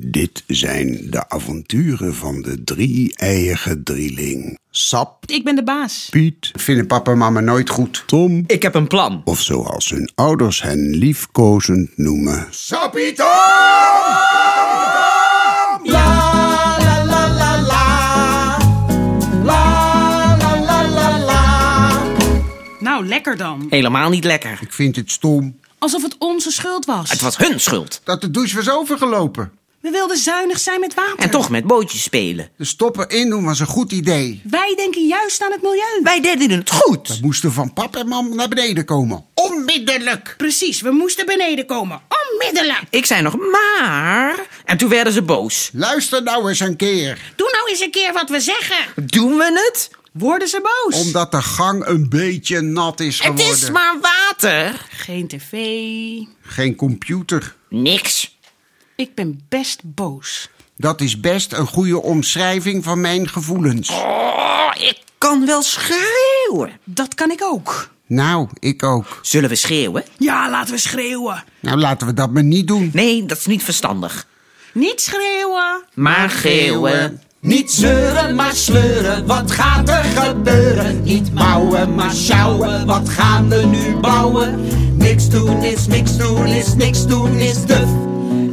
Dit zijn de avonturen van de drie-eiige drieling. Sap, Ik ben de baas. Piet, vinden papa en mama nooit goed. Tom, Ik heb een plan. of zoals hun ouders hen liefkozend noemen. Sapito! Nou, lekker dan. Helemaal niet lekker. Ik vind het stom Alsof het onze schuld was. Het was hun schuld. dat de douche was overgelopen. We wilden zuinig zijn met water. En toch met bootjes spelen. De stoppen in doen was een goed idee. Wij denken juist aan het milieu. Wij deden het We goed. moesten van pap en mam naar beneden komen. Onmiddellijk! Precies, we moesten beneden komen. Onmiddellijk. Ik zei nog maar. En toen werden ze boos. Luister nou eens een keer. Doe nou eens een keer wat we zeggen. Doen we het? Worden ze boos? Omdat de gang een beetje nat is geworden. Het is maar water. Geen tv. Geen computer. Niks. Ik ben best boos. Dat is best een goede omschrijving van mijn gevoelens. Oh, ik kan wel schreeuwen. Dat kan ik ook. Nou, ik ook. Zullen we schreeuwen? Ja, laten we schreeuwen. Nou, laten we dat maar niet doen. Nee, dat is niet verstandig. Niet schreeuwen. Maar geeuwen. Niet zeuren, maar sleuren, wat gaat er gebeuren? Niet mouwen, maar sjouwen, wat gaan we nu bouwen? Niks doen is niks doen is niks doen is duf.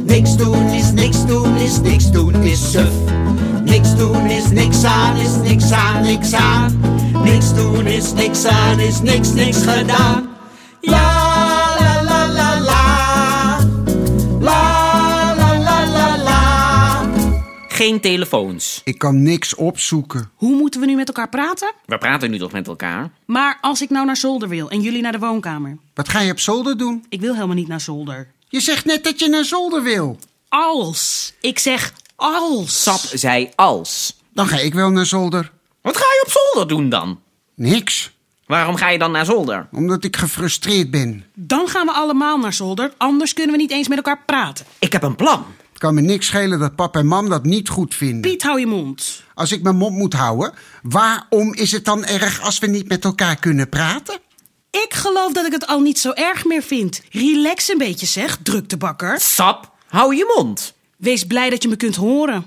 Niks doen is niks doen is niks doen is suf. Niks doen is niks aan is niks aan niks aan. Niks doen is niks aan is niks niks gedaan. La la la la la. La la la la la. Geen telefoons. Ik kan niks opzoeken. Hoe moeten we nu met elkaar praten? We praten nu toch met elkaar? Maar als ik nou naar zolder wil en jullie naar de woonkamer. Wat ga je op zolder doen? Ik wil helemaal niet naar zolder. Je zegt net dat je naar zolder wil. Als. Ik zeg als. Sap zei als. Dan ga ik wel naar zolder. Wat ga je op zolder doen dan? Niks, Waarom ga je dan naar zolder? omdat ik gefrustreerd ben. Dan gaan we allemaal naar zolder, anders kunnen we niet eens met elkaar praten. Ik heb een plan. Het kan me niks schelen dat pap en mam dat niet goed vinden. Piet, hou je mond. Als ik mijn mond moet houden, waarom is het dan erg als we niet met elkaar kunnen praten? Ik geloof dat ik het al niet zo erg meer vind. Relax een beetje zeg, druktebakker. Sap, hou je mond. Wees blij dat je me kunt horen.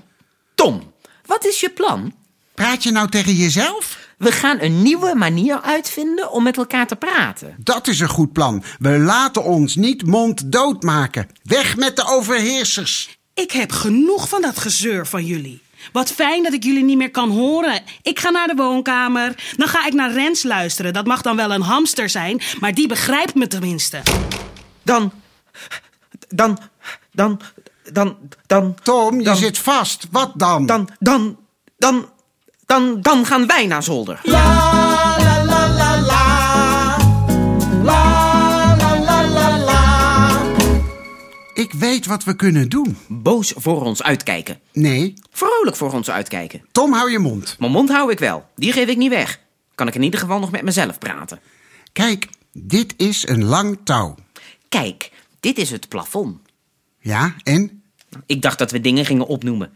Tom, wat is je plan? Praat je nou tegen jezelf? We gaan een nieuwe manier uitvinden om met elkaar te praten. Dat is een goed plan. We laten ons niet monddood maken. Weg met de overheersers. Ik heb genoeg van dat gezeur van jullie. Wat fijn dat ik jullie niet meer kan horen. Ik ga naar de woonkamer. Dan ga ik naar Rens luisteren. Dat mag dan wel een hamster zijn, maar die begrijpt me tenminste. Dan, dan, dan, dan, dan, Tom, je Dan- zit vast. Wat dan? dan, dan, dan, dan, dan gaan wij naar zolder. La la la la la. La la la la la. Ik weet wat we kunnen doen. Boos voor ons uitkijken. Nee, Vrolijk voor ons uitkijken. Tom, hou je mond. Mijn mond hou ik wel. Die geef ik niet weg. Kan ik in ieder geval nog met mezelf praten. Kijk, dit is een lang touw. Kijk, dit is het plafond. Ja, en? Ik dacht dat we dingen gingen opnoemen.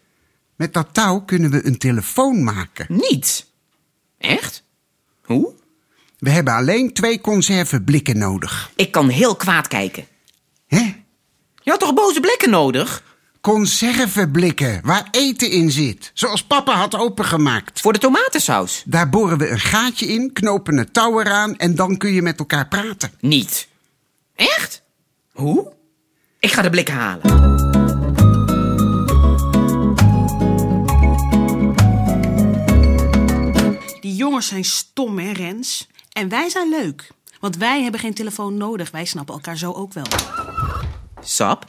Met dat touw kunnen we een telefoon maken. Niet. Echt? Hoe? We hebben alleen twee conservenblikken nodig. Ik kan heel kwaad kijken. Hè? Je had toch boze blikken nodig? Conservenblikken, waar eten in zit. Zoals papa had opengemaakt. Voor de tomatensaus? Daar boren we een gaatje in, knopen een touw eraan en dan kun je met elkaar praten. Niet. Echt? Hoe? Ik ga de blikken halen. Die jongens zijn stom, hè, Rens? En wij zijn leuk. Want wij hebben geen telefoon nodig. Wij snappen elkaar zo ook wel. Sap,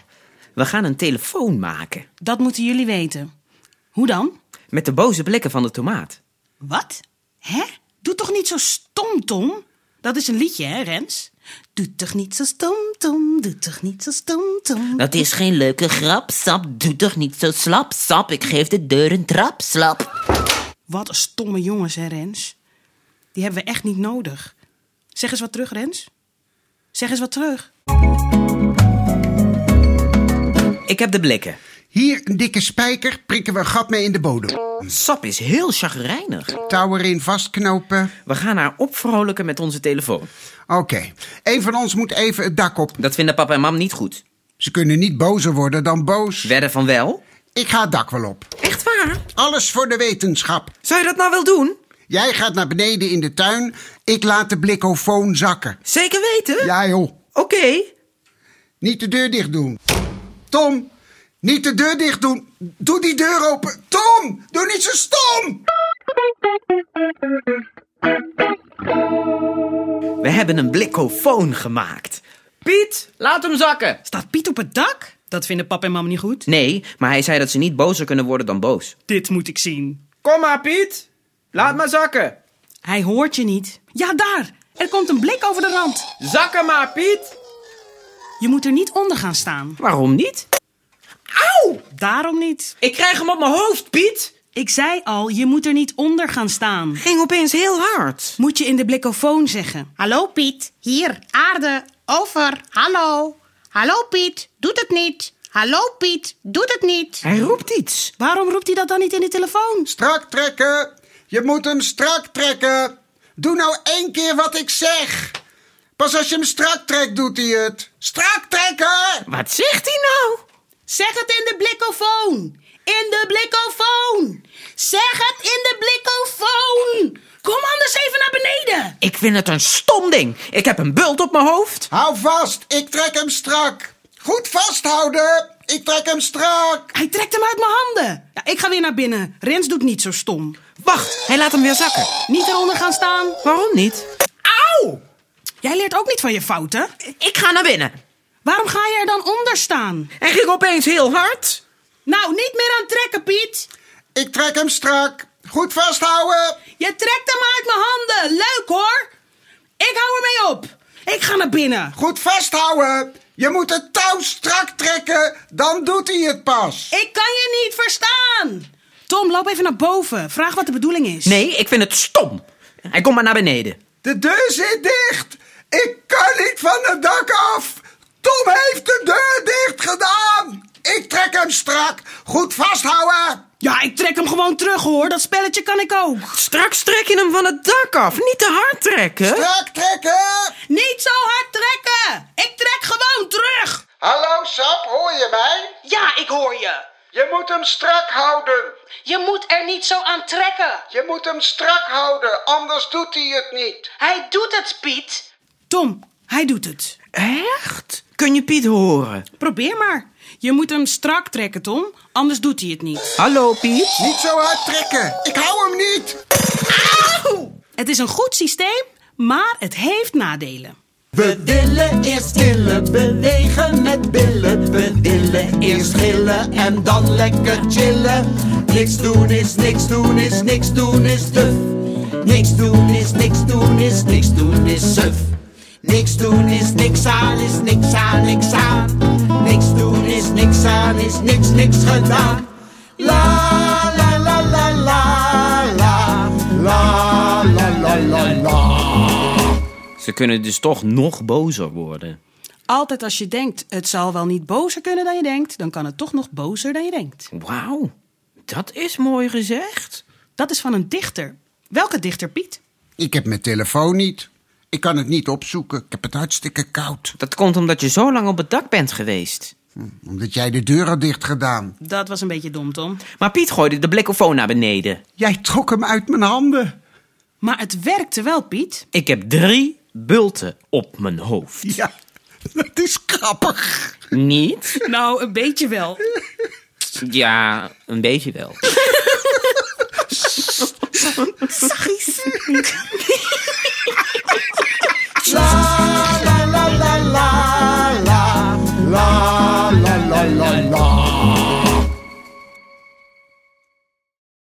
we gaan een telefoon maken. Dat moeten jullie weten. Hoe dan? Met de boze blikken van de tomaat. Wat? Hè? Doe toch niet zo stom, Tom? Dat is een liedje, hè, Rens? Doe toch niet zo stom, Tom? Doe toch niet zo stom, Tom? Dat is geen leuke grap, sap. Doe toch niet zo slap, sap. Ik geef de deur een trap, slap. Wat een stomme jongens, hè, Rens? Die hebben we echt niet nodig. Zeg eens wat terug, Rens. Zeg eens wat terug. Ik heb de blikken. Hier een dikke spijker, prikken we een gat mee in de bodem. Sap is heel chagrijnig. Touw erin vastknopen. We gaan haar opvrolijken met onze telefoon. Oké, een van ons moet even het dak op. Dat vinden papa en mam niet goed. Ze kunnen niet bozer worden dan boos. Wedden van wel? Ik ga het dak wel op. Echt waar? Alles voor de wetenschap. Zou je dat nou wel doen? Jij gaat naar beneden in de tuin. Ik laat de blikkofoon zakken. Zeker weten? Ja joh, Oké. niet de deur dicht doen. Tom, niet de deur dicht doen. Doe die deur open. Tom, doe niet zo stom. We hebben een blikkofoon gemaakt. Piet, laat hem zakken. Staat Piet op het dak? Dat vinden pap en mam niet goed. Nee, maar hij zei dat ze niet bozer kunnen worden dan boos. Dit moet ik zien. Kom maar, Piet. Laat maar zakken. Hij hoort je niet. Ja, daar! Er komt een blik over de rand. Zakken maar, Piet. Je moet er niet onder gaan staan. Waarom niet? Daarom niet. Ik krijg hem op mijn hoofd, Piet. Ik zei al, je moet er niet onder gaan staan. Ging opeens heel hard. Moet je in de blikkofoon zeggen. Hallo Piet, hier, aarde, over, hallo. Hallo Piet, doet het niet. Hallo Piet, doet het niet. Hij roept iets. Waarom roept hij dat dan niet in de telefoon? Strak trekken. Je moet hem strak trekken. Doe nou één keer wat ik zeg. Pas als je hem strak trekt, doet hij het. Strak trekken! Wat zegt hij nou? Zeg het in de blikkofoon! In de blikkofoon! Zeg het in de blikkofoon! Kom anders even naar beneden! Ik vind het een stom ding. Ik heb een bult op mijn hoofd. Hou vast, ik trek hem strak. Goed vasthouden, ik trek hem strak. Hij trekt hem uit mijn handen! Ja, ik ga weer naar binnen. Rens doet niet zo stom. Wacht, hij laat hem weer zakken. Niet eronder gaan staan. Waarom niet? Auw! Jij leert ook niet van je fouten. Ik ga naar binnen. Waarom ga je er dan onder staan? Hij ging opeens heel hard. Nou, niet meer aan trekken, Piet. Ik trek hem strak. Goed vasthouden. Je trekt hem uit mijn handen. Leuk hoor. Ik hou ermee op. Ik ga naar binnen. Goed vasthouden. Je moet het touw strak trekken, dan doet hij het pas. Ik kan je niet verstaan. Tom, loop even naar boven. Vraag wat de bedoeling is. Nee, ik vind het stom. Hij komt maar naar beneden. De deur zit dicht. Ik kan niet van het dak af. Tom heeft de deur dicht gedaan. Ik trek hem strak. Goed vasthouden. Ja, ik trek hem gewoon terug hoor. Dat spelletje kan ik ook. Straks trek je hem van het dak af. Niet te hard trekken. Strak trekken. Niet zo hard trekken. Ik trek gewoon terug. Hallo Sap, hoor je mij? Ja, ik hoor je. Je moet hem strak houden. Je moet er niet zo aan trekken. Je moet hem strak houden, anders doet hij het niet. Hij doet het, Piet. Tom, hij doet het. Echt? Kun je Piet horen? Probeer maar. Je moet hem strak trekken, Tom. Anders doet hij het niet. Hallo Piet. Niet zo hard trekken. Ik hou hem niet. Het is een goed systeem, maar het heeft nadelen. We willen eerst stillen, bewegen met billen. We willen eerst gillen en dan lekker chillen. Niks doen is niks doen is niks doen is duf. Niks doen is niks doen is niks doen is suf. Niks doen is niks aan is niks aan niks aan. Niks doen is niks aan is niks niks gedaan. La la la la la la la la la la la. Ze kunnen dus toch nog bozer worden. Altijd als je denkt, het zal wel niet bozer kunnen dan je denkt, dan kan het toch nog bozer dan je denkt. Wauw, dat is mooi gezegd. Dat is van een dichter. Welke dichter, Piet? Ik heb mijn telefoon niet. Ik kan het niet opzoeken. Ik heb het hartstikke koud. Hm, Dat komt omdat je zo lang op het dak bent geweest. Omdat jij de deur had dicht gedaan. Dat was een beetje dom, Tom. Maar Piet gooide de blikkofoon naar beneden. Jij trok hem uit mijn handen. Maar het werkte wel, Piet. Ik heb drie bulten op mijn hoofd. Ja, dat is grappig. Niet? Nou, een beetje wel. Ja, een beetje wel. la la la la la la la la la la